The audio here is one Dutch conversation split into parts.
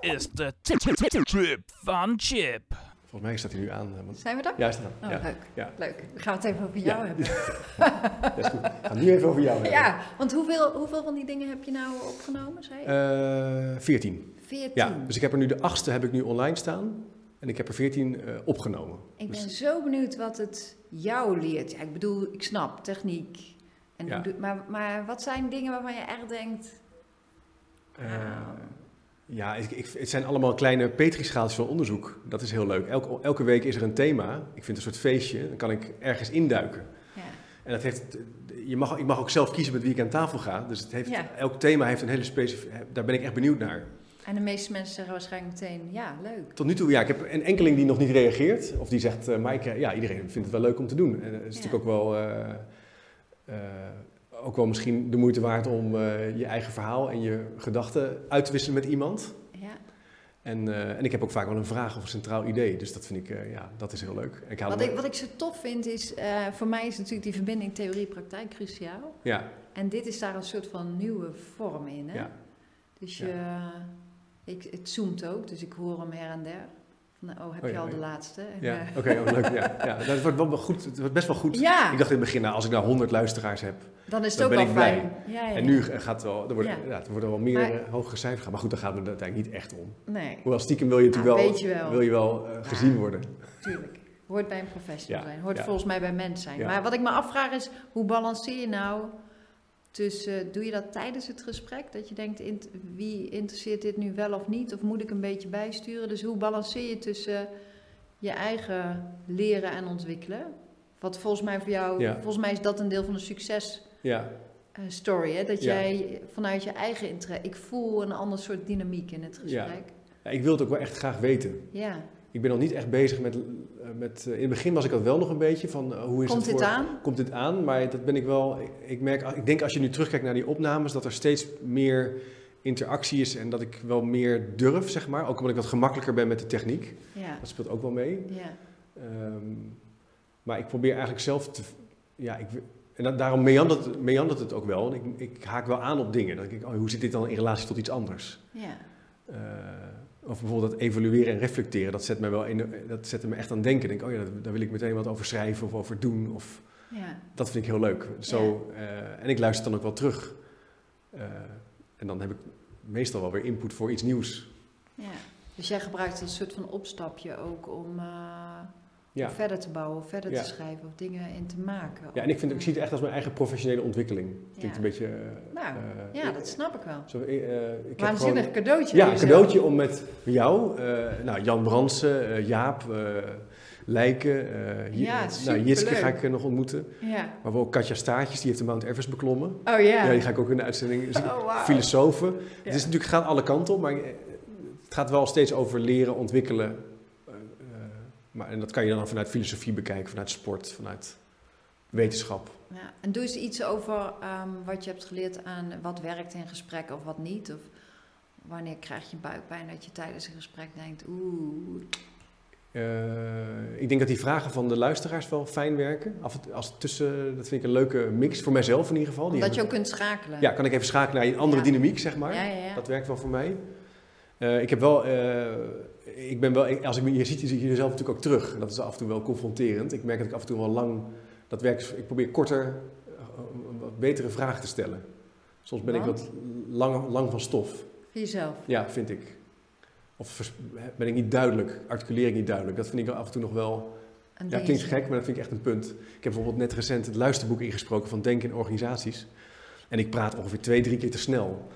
is de tip, tip, tip, trip van Chip. Volgens mij staat hij nu aan. eh, Want... Zijn we daar? Ja, hij staat aan. Oh, ja. leuk. Ja. Leuk. Dan gaan we het even over jou Ja. hebben. Dat is goed. We gaan nu even over jou hebben. Ja, want hoeveel, hoeveel van die dingen heb je nou opgenomen, zei je? Eh, 14. 14. Ja, dus ik heb er nu de achtste heb ik nu online staan. En ik heb er 14 eh, opgenomen. Ik Dus- ben zo benieuwd wat het jou leert. Ja, ik bedoel, ik snap techniek. En Ja. hoe doe- maar, maar wat zijn dingen waarvan je echt denkt... Ah. nou, Eh, wauw. Ja, ik, ik, het zijn allemaal kleine petrischaaltjes van onderzoek. Dat is heel leuk. Elke, elke week is er een thema. Ik vind het een soort feestje. Dan kan ik ergens induiken. Ja. En dat heeft, je mag, ik mag ook zelf kiezen met wie ik aan tafel ga. Dus het heeft, Ja. elk thema heeft een hele specifieke... Daar ben ik echt benieuwd naar. En de meeste mensen zeggen waarschijnlijk meteen, ja, leuk. Tot nu toe, ja, ik heb een enkeling die nog niet reageert. Of die zegt, eh, maar ik, eh, ja, iedereen vindt het wel leuk om te doen. En eh, het is Ja. natuurlijk ook wel, eh, eh, ook wel misschien de moeite waard om eh, je eigen verhaal en je gedachten uit te wisselen met iemand. Ja. En, eh, en ik heb ook vaak wel een vraag of een centraal idee. Dus dat vind ik, eh, ja, dat is heel leuk. Ik haal Wat, hem- ik, wat ik zo tof vind is, eh, voor mij is natuurlijk die verbinding theorie-praktijk cruciaal. Ja, En dit is daar een soort van nieuwe vorm in. Hè? Ja. Dus je, ik, het zoomt ook, dus ik hoor hem her en der. Van, oh, heb Oh je ja, al ja. de laatste? En, ja. eh, oké, oh, leuk. Ja, ja. Nou, het, wordt wel goed, het wordt best wel goed. ja, Ik dacht in het begin, nou, als ik nou 100 luisteraars heb. dan is het dan ook ben al ik blij. fijn. Ja, ja, En ja. nu eh, gaat het wel, er worden, Ja. ja. er worden wel meer Maar- eh, hogere cijfers gaan. Maar goed, daar gaat het me uiteindelijk niet echt om. Nee, Hoewel stiekem wil je Ah, natuurlijk weet je wel. Wil je wel eh, gezien worden. tuurlijk. Hoort bij een professional Ja, zijn. Hoort ja. volgens mij bij mens zijn. Ja. Maar wat ik me afvraag is, hoe balanceer je nou tussen... eh, Doe je dat tijdens het gesprek? Dat je denkt, int- wie interesseert dit nu wel of niet? Of moet ik een beetje bijsturen? Dus hoe balanceer je tussen je eigen leren en ontwikkelen? Wat volgens mij voor jou... Ja. Volgens mij is dat een deel van de succes... Ja, eh, story, hè? dat Ja. jij vanuit je eigen interesse... Ik voel een ander soort dynamiek in het Ja. gesprek. Ja, ik wil het ook wel echt graag weten. Ja. Ik ben nog niet echt bezig met... eh, met eh, in het begin was ik dat wel nog een beetje van, eh, hoe is Komt het dit voor... aan? komt dit aan, maar dat ben ik wel. Ik merk, ik denk als je nu terugkijkt naar die opnames, dat er steeds meer interactie is en dat ik wel meer durf, zeg maar. Ook omdat ik wat gemakkelijker ben met de techniek. Ja. Dat speelt ook wel mee. ja. Ehm, maar ik probeer eigenlijk zelf te. Ja, ik, en da- daarom meandert, het- meandert het ook wel. En Ik, ik haak wel aan op dingen. Dat ik, denk, oh, hoe zit dit dan in relatie tot iets anders? Ja, Eh, of bijvoorbeeld dat evalueren en reflecteren, dat zet me wel in, dat zet me echt aan het denken. Ik Denk, oh ja, daar- daar wil ik meteen wat over schrijven of over doen. Of, ja. dat vind ik heel leuk. Zo, eh, en ik luister dan ook wel terug. Eh, en dan heb ik meestal wel weer input voor iets nieuws. ja. Dus jij gebruikt een soort van opstapje ook om eh, Ja. verder te bouwen, verder Ja. te schrijven of dingen in te maken. Ja, en ik, vind, ik zie het echt als mijn eigen professionele ontwikkeling. Klinkt Ja. een beetje... eh, Nou, eh, Ja, ik- dat snap ik wel. Zo, eh, eh, ik heb Waanzinnig gewoon... cadeautje. Ja, voor een jezelf. cadeautje om met jou, eh, nou, Jan Bransen, eh, Jaap, eh, Lijken, eh, J- Ja, nou, Jitske superleuk. ga ik eh, nog ontmoeten. Ja. Maar ook Katja Staartjes, die heeft de Mount Everest beklommen. Oh ja. Ja, die ga ik ook in de uitzending... Dus ik- Oh, wauw. filosofen. Ja. Het is natuurlijk gaat alle kanten op, maar eh, het gaat wel steeds over leren, ontwikkelen. Eh, eh, maar, en dat kan je dan vanuit filosofie bekijken, vanuit sport, vanuit wetenschap. Ja. En doe eens iets over ehm, wat je hebt geleerd aan wat werkt in gesprekken of wat niet. Of wanneer krijg je buikpijn dat je tijdens een gesprek denkt, oeh. Eh, ik denk dat die vragen van de luisteraars wel fijn werken. Af en toe- als tussen, dat vind ik een leuke mix, voor mijzelf in ieder geval. Die Omdat je ook hebben- kunt schakelen. Ja, kan ik even schakelen naar een andere Ja. dynamiek, zeg maar. ja, ja, ja. Dat werkt wel voor mij. Eh, ik heb wel, eh, ik ben wel, als ik, me- je ziet je ziet jezelf natuurlijk ook terug. Dat is af en toe wel confronterend. Ik merk dat ik af en toe wel lang, dat werkt, ik probeer korter, eh, een wat betere vraag te stellen. Soms ben ik Want? wat lang, lang van stof, Voor jezelf. ja, vind ik. Of vers- ben ik niet duidelijk, articuleer ik niet duidelijk. Dat vind ik wel af en toe nog wel, Een ja, klinkt dingetje. gek, maar dat vind ik echt een punt. Ik heb bijvoorbeeld net recent het luisterboek ingesproken van Denken in Organisaties. En ik praat ongeveer twee, drie keer te snel.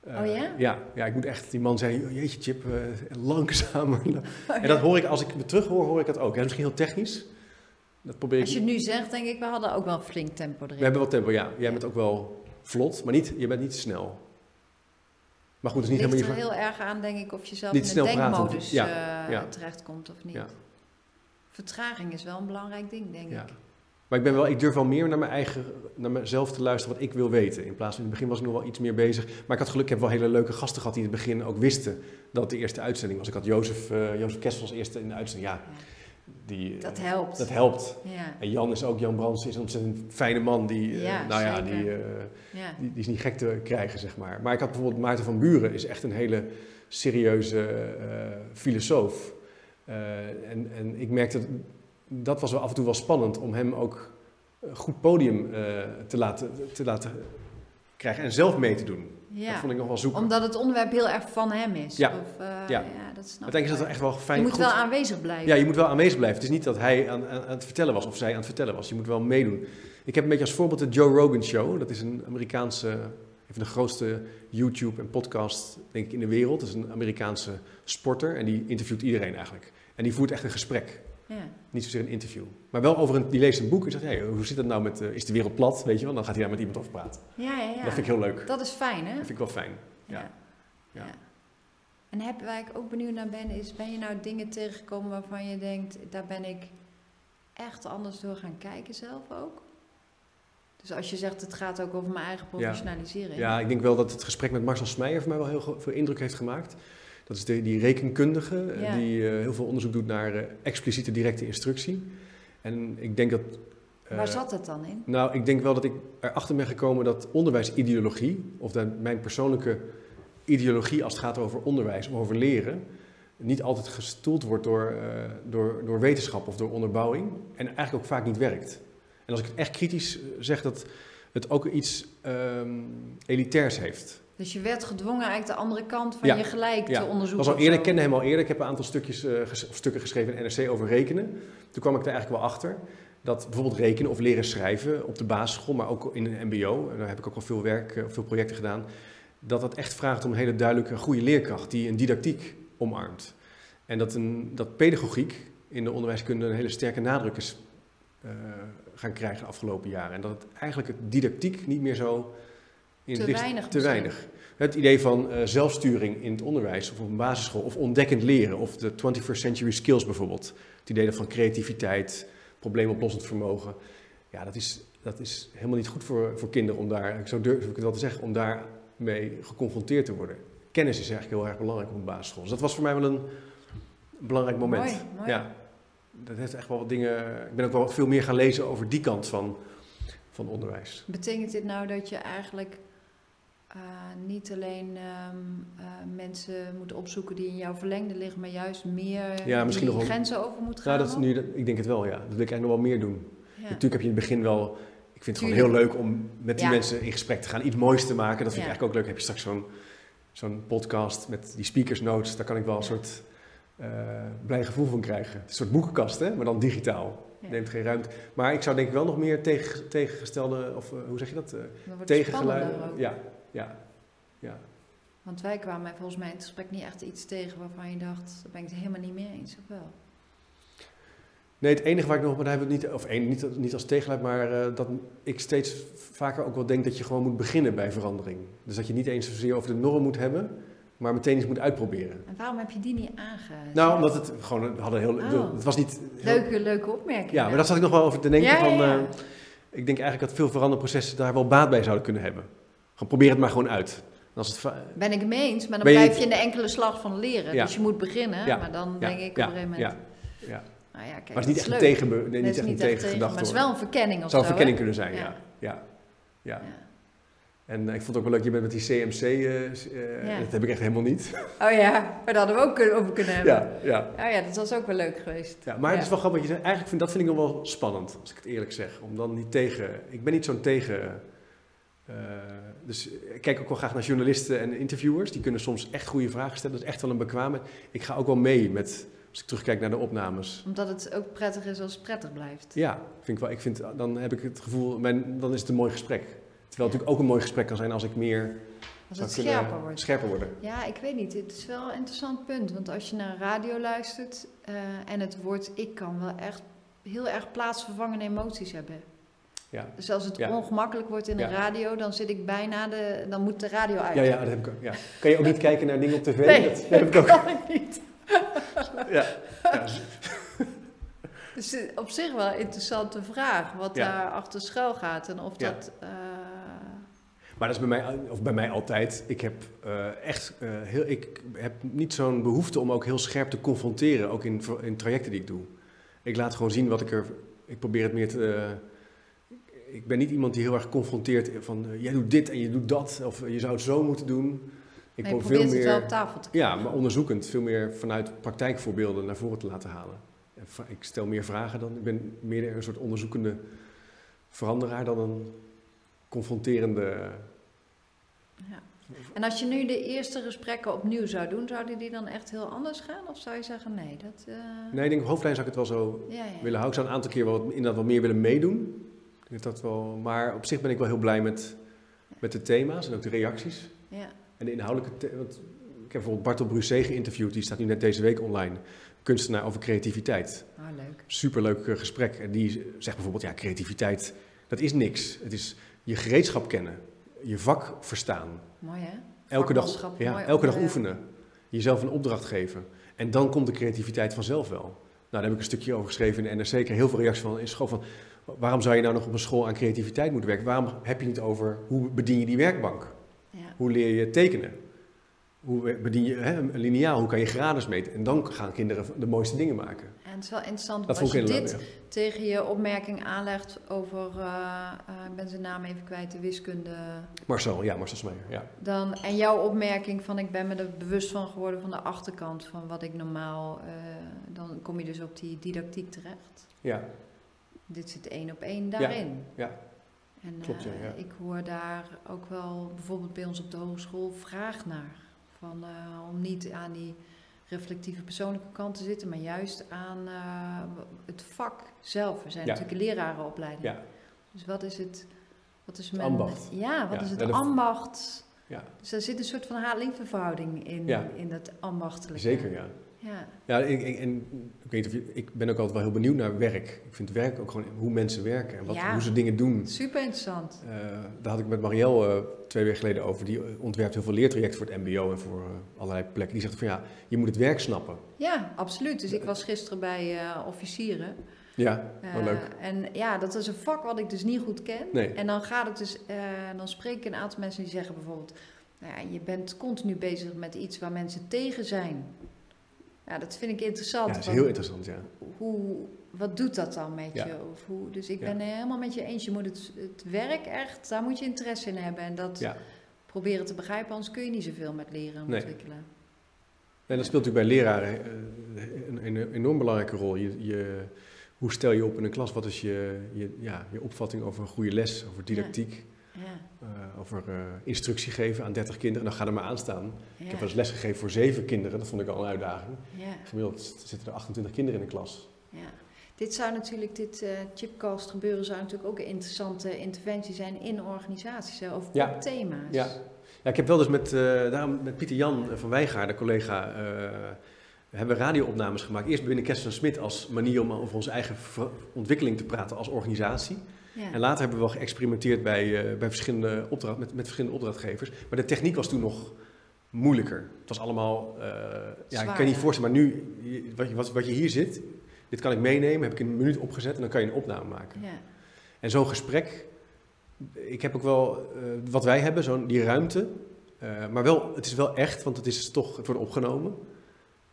Eh, Oh ja? ja? Ja, ik moet echt... Die man zei, "Oh, jeetje Chip, eh, langzamer. Oh, En ja. dat hoor ik, als ik me terug hoor, hoor ik dat ook. Ja, misschien heel technisch. Dat probeer ik... Als je het nu zegt, denk ik, we hadden ook wel een flink tempo erin. We hebben wel tempo, ja. Jij bent ook wel vlot, maar niet, je bent niet snel. Maar goed, het is niet Het ligt er helemaal je... heel erg aan, denk ik, of je zelf Niet in de snel praten, denkmodus ja, eh, ja. terechtkomt of niet. Ja. Vertraging is wel een belangrijk ding, denk Ja. ik. Maar ik, ben wel, ik durf wel meer naar, mijn eigen, naar mezelf te luisteren wat ik wil weten. In plaats van in het begin was ik nog wel iets meer bezig. Maar ik had geluk, ik heb wel hele leuke gasten gehad die in het begin ook wisten dat het de eerste uitzending was. Ik had Jozef, eh Jozef Kessel als eerste in de uitzending. Ja, Ja. Die, Dat eh, helpt. dat helpt. Ja, En Jan is ook, Jan Brands is een ontzettend fijne man. Die, eh, Ja, nou ja, zeker. die, eh, ja. die, die is niet gek te krijgen, zeg maar. Maar ik had bijvoorbeeld Maarten van Buren, is echt een hele serieuze eh, filosoof. Eh, en, en ik merkte, dat was wel af en toe wel spannend om hem ook een goed podium eh, te, laten, te laten krijgen en zelf mee te doen. Dat ja. vond ik nog wel zoeken. Omdat het onderwerp heel erg van hem is. Ja. Of, eh, ja. Ja. dat snap ik. Uiteindelijk is dat echt wel fijn. Je moet goed- wel aanwezig blijven. Ja, je moet wel aanwezig blijven. Het is niet dat hij aan, aan, aan het vertellen was of zij aan het vertellen was. Je moet wel meedoen. Ik heb een beetje als voorbeeld de Joe Rogan Show. Dat is een Amerikaanse, een van de grootste YouTube en podcast, denk ik, in de wereld. Dat is een Amerikaanse sporter en die interviewt iedereen eigenlijk. En die voert echt een gesprek. Ja. Niet zozeer een interview. Maar wel over een, die leest een boek en zegt, hey, hoe zit dat nou met, eh, is de wereld plat? Weet je wel, dan gaat hij daar met iemand over praten. Ja, ja, ja. Dat vind ik heel leuk. Dat Dat is fijn, hè? vind ik wel fijn. ja. Ja. En heb, waar ik ook benieuwd naar ben, is ben je nou dingen tegengekomen waarvan je denkt, daar ben ik echt anders door gaan kijken zelf ook? Dus als je zegt, het gaat ook over mijn eigen professionalisering. Ja, ik denk wel dat het gesprek met Marcel Smeijer voor mij wel heel ge- veel indruk heeft gemaakt. Dat is de, die rekenkundige eh, Ja. die eh, heel veel onderzoek doet naar eh, expliciete directe instructie. En ik denk dat. eh, Waar zat dat dan in? Nou, ik denk wel dat ik erachter ben gekomen dat onderwijsideologie, of dat mijn persoonlijke ideologie als het gaat over onderwijs, of over leren, niet altijd gestoeld wordt door, eh, door, door wetenschap of door onderbouwing. En eigenlijk ook vaak niet werkt. En als ik het echt kritisch eh, zeg, dat het ook iets ehm, elitairs heeft. Dus je werd gedwongen eigenlijk de andere kant van Ja. je gelijk Ja. te Ik onderzoeken. was al of eerder, zo. ik kende hem al eerder. Ik heb een aantal stukjes, eh, ges- of stukken geschreven in NRC over rekenen. Toen kwam ik er eigenlijk wel achter dat bijvoorbeeld rekenen of leren schrijven op de basisschool, maar ook in een MBO, en daar heb ik ook wel veel werk, eh, veel projecten gedaan, dat dat echt vraagt om een hele duidelijke, goede leerkracht die een didactiek omarmt. En dat, een, dat pedagogiek in de onderwijskunde een hele sterke nadruk is eh, gaan krijgen de afgelopen jaren. En dat het eigenlijk het didactiek niet meer zo in Te het licht- weinig te misschien. weinig. Het idee van eh, zelfsturing in het onderwijs of op een basisschool of ontdekkend leren of de 21st century skills bijvoorbeeld. Het idee van creativiteit, probleemoplossend vermogen. Ja, dat is, dat is helemaal niet goed voor, voor kinderen om daar, ik zou durven ik het wel te zeggen, om daarmee geconfronteerd te worden. Kennis is eigenlijk heel erg belangrijk op een basisschool. Dus dat was voor mij wel een belangrijk moment. Mooi, mooi. Ja, dat heeft echt wel wat dingen. Ik ben ook wel veel meer gaan lezen over die kant van, van onderwijs. Betekent dit nou dat je eigenlijk eh, niet alleen ehm, eh, mensen moet opzoeken die in jouw verlengde liggen, maar juist meer Ja, misschien die nog wel- grenzen over moet Nou, gaan? dat is ook? nu, dat- ik denk het wel, ja. Dat wil ik eigenlijk nog wel meer doen. Ja. Natuurlijk heb je in het begin wel. Ik vind het gewoon heel Tuurlijk. leuk om met die Ja. mensen in gesprek te gaan, iets moois te maken. Dat vind Ja. ik eigenlijk ook leuk. Heb je straks zo'n zo'n podcast met die speakers notes, daar kan ik wel een Ja. soort eh, blij gevoel van krijgen. Het is een soort boekenkast, hè? maar dan digitaal. Ja. Neemt geen ruimte. Maar ik zou denk ik wel nog meer tegen, tegengestelde, of eh, hoe zeg je dat? Eh, Dan wordt het tegengeluiden. spannender ook. Ja, ja, ja. Want wij kwamen volgens mij in het gesprek niet echt iets tegen waarvan je dacht, daar ben ik het helemaal niet mee eens, of wel? Nee, het enige waar ik nog, maar daar hebben we het niet, of één, niet, niet als tegenluid, maar eh, dat ik steeds vaker ook wel denk dat je gewoon moet beginnen bij verandering. Dus dat je niet eens zozeer over de norm moet hebben, maar meteen iets moet uitproberen. En waarom heb je die niet aangezet? Nou, omdat het gewoon een- hadden heel, Oh. het was niet. heel- Leuke, leuke opmerking. Ja, maar daar zat ik nog wel over te denken. Ja, ja, van, ja. eh, ik denk eigenlijk dat veel veranderprocessen daar wel baat bij zouden kunnen hebben. Gewoon probeer het maar gewoon uit. En als het va- Ben ik het mee eens, maar dan Ben je- blijf je in de enkele slag van leren. Ja. Dus je moet beginnen, Ja. maar dan Ja. denk ik op Ja. een gegeven moment... Ja. Ja. Nou ja, kijk, maar het is dat niet echt een leuk. tegen, nee, Nee, niet echt het is een maar tegengedacht het is worden. wel een verkenning of zou een zo, hè? verkenning kunnen zijn, Ja. ja. ja. ja. Ja. En eh, ik vond het ook wel leuk, je bent met die CMC, eh, s- eh, Ja. dat heb ik echt helemaal niet. Oh ja, maar daar hadden we ook kun- over kunnen hebben. Ja, ja. Oh ja, dat was ook wel leuk geweest. ja. Maar het is wel grappig wat je zegt. Eigenlijk vind, dat vind ik nog wel spannend, als ik het eerlijk zeg. Om dan niet tegen... Ik ben niet zo'n tegen... eh, dus ik kijk ook wel graag naar journalisten en interviewers. Die kunnen soms echt goede vragen stellen. Dat is echt wel een bekwame. Ik ga ook wel mee met... Als ik terugkijk naar de opnames. Omdat het ook prettig is als het prettig blijft. Ja, vind ik wel. Ik vind, dan heb ik het gevoel... Mijn, dan is het een mooi gesprek. Terwijl het natuurlijk ook een mooi gesprek kan zijn als ik meer... Als zou het kunnen- scherper wordt. Scherper worden. Ja, ik weet niet. Het is wel een interessant punt. Want als je naar radio luistert eh, en het woord ik kan wel echt heel erg plaatsvervangende emoties hebben. Ja. Dus als het Ja. ongemakkelijk wordt in de Ja. radio, dan zit ik bijna de... Dan moet de radio uit. Ja, ja, dat heb ik ook. Ja. Kan je ook niet kijken naar dingen op tv? Nee, dat heb ik ook. kan ik niet. Ja. Ja. Dus het is op zich wel een interessante vraag wat Ja. daar achter schuil gaat. En of Ja. dat... eh, Maar dat is bij mij, of bij mij altijd. Ik heb eh, echt eh, heel, ik heb niet zo'n behoefte om ook heel scherp te confronteren, ook in, ver- in trajecten die ik doe. Ik laat gewoon zien wat ik er. Ik probeer het meer te. eh, ik ben niet iemand die heel erg confronteert van eh, jij doet dit en je doet dat. Of eh, je zou het zo moeten doen. Ik maar je probeer probeert veel het meer. wel op tafel te Ja, maar onderzoekend. Veel meer vanuit praktijkvoorbeelden naar voren te laten halen. En va- Ik stel meer vragen dan. Ik ben meer een soort onderzoekende veranderaar dan een confronterende. Ja. En als je nu de eerste gesprekken opnieuw zou doen, zouden die dan echt heel anders gaan? Of zou je zeggen, nee, dat... eh, Nee, ik denk op hoofdlijn zou ik het wel zo ja, ja. willen houden. Ik zou een aantal keer wel, inderdaad wat meer willen meedoen. Ik denk dat wel, maar op zich ben ik wel heel blij met, met de thema's en ook de reacties. ja. En de inhoudelijke... the- Want ik heb bijvoorbeeld Bartel Brusset geïnterviewd. Die staat nu net deze week online. Kunstenaar over creativiteit. Ah, leuk. Superleuk eh, gesprek. En die zegt bijvoorbeeld, ja, creativiteit, dat is niks. Het is je gereedschap kennen. Je vak verstaan. Mooi, hè? Elke dag, Vakmanschap, ja, mooi elke dag onderwerp. oefenen. Jezelf een opdracht geven. En dan komt de creativiteit vanzelf wel. Nou, daar heb ik een stukje over geschreven in de NRC. Ik kreeg heel veel reacties van in school van... waarom zou je nou nog op een school aan creativiteit moeten werken? Waarom heb je niet over hoe bedien je die werkbank? Ja. Hoe leer je tekenen? Hoe bedien je hè, een lineaal? Hoe kan je grades meten? En dan gaan kinderen de mooiste dingen maken. En het is wel interessant, Dat als vond ik je heel dit leuk. tegen je opmerking aanlegt over... eh, eh, ik ben zijn naam even kwijt, de wiskunde... ja. Marcel, ja, Marcel Smeyer. Ja. Dan, en jouw opmerking van ik ben me er bewust van geworden van de achterkant van wat ik normaal... eh, dan kom je dus op die didactiek terecht. ja, Dit zit één op één daarin. ja. En Klopt, ja, eh, ja. ik hoor daar ook wel bijvoorbeeld bij ons op de hogeschool vraag naar. Van, eh, om niet aan die reflectieve persoonlijke kant te zitten, maar juist aan eh, het vak zelf. We zijn Ja. natuurlijk een lerarenopleiding. Ja. Dus wat is het... Wat is Het mijn, ambacht. Ja, wat Ja, is het bij de- ambacht? Ja. Dus er zit een soort van haat-liefde verhouding in, Ja. in dat ambachtelijke. zeker ja. Ja, Ja, ik, ik- en, ik, weet of je- ik ben ook altijd wel heel benieuwd naar werk. Ik vind werk ook gewoon hoe mensen werken en wat, Ja. hoe ze dingen doen. super interessant. Eh, daar had ik met Marielle eh, twee weken geleden over. Die eh, ontwerpt heel veel leertrajecten voor het MBO en voor eh, allerlei plekken. Die zegt van ja, je moet het werk snappen. Ja, absoluut. Dus ik was gisteren bij eh, officieren. Ja, Eh, wel Oh, leuk. En ja, dat is een vak wat ik dus niet goed ken. Nee. En dan gaat het dus, eh, dan spreek ik een aantal mensen die zeggen bijvoorbeeld, nou ja, je bent continu bezig met iets waar mensen tegen zijn. Ja, dat vind ik Ja, interessant. dat is want heel interessant, ja. hoe, wat doet dat dan met Ja. je? Of hoe, dus ik Ja. ben helemaal met je eens. Je moet het, het werk echt, daar moet je interesse in hebben. En dat Ja. proberen te begrijpen, anders kun je niet zoveel met leren en Nee. ontwikkelen. En dat speelt natuurlijk bij leraren eh, een, een enorm belangrijke rol. Je, je, hoe stel je op in een klas? Wat is je, je, ja, je opvatting over een goede les, over didactiek, Ja, eh, over eh, instructie geven aan 30 kinderen? Nou, ga er maar aan staan. Ik ja, heb wel eens les gegeven voor zeven kinderen. Dat vond ik al een uitdaging. ja, Gemiddeld zitten er 28 kinderen in de klas. ja. Dit zou natuurlijk, dit eh, chipcast gebeuren zou natuurlijk ook een interessante interventie zijn in organisaties hè, over Ja. thema's. Ja. Ja, ik heb wel eens met, eh, daarom met Pieter Jan eh, van Wijgaard, de collega, eh, hebben we radioopnames gemaakt. Eerst binnen Kerst van Smit als manier om over onze eigen ver- ontwikkeling te praten als organisatie. Ja. En later hebben we wel geëxperimenteerd bij, eh, bij verschillende opdracht, met, met verschillende opdrachtgevers. Maar de techniek was toen nog moeilijker. Het was allemaal, eh, ja, ik Zwaar, kan je niet hè? voorstellen, maar nu, je- wat, je- wat, wat je hier zit, dit kan ik meenemen, heb ik in een minuut opgezet en dan kan je een opname maken. Ja. En zo'n gesprek, ik heb ook wel eh, wat wij hebben, zo'n, die ruimte. eh, maar wel, het is wel echt, want het is toch, het wordt opgenomen.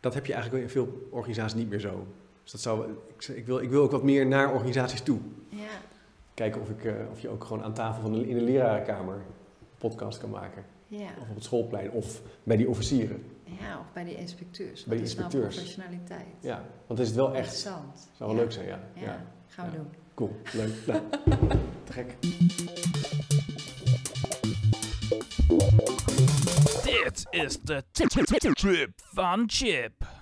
Dat heb je eigenlijk in veel organisaties niet meer zo. Dus dat zou, ik, ik, wil, ik wil ook wat meer naar organisaties toe. ja. Kijken of, ik, eh, of je ook gewoon aan tafel van de, in de lerarenkamer een podcast kan maken. Ja, Of op het schoolplein, of bij die officieren. ja, of bij de inspecteurs. Bij Wat de is nou inspecteurs. professionaliteit? Ja, want dan is het wel echt. Interessant. Zou wel Ja. leuk zijn, ja. Ja, gaan Ja. we doen. Cool, leuk. Nou, te gek. Dit is de tip van Chip.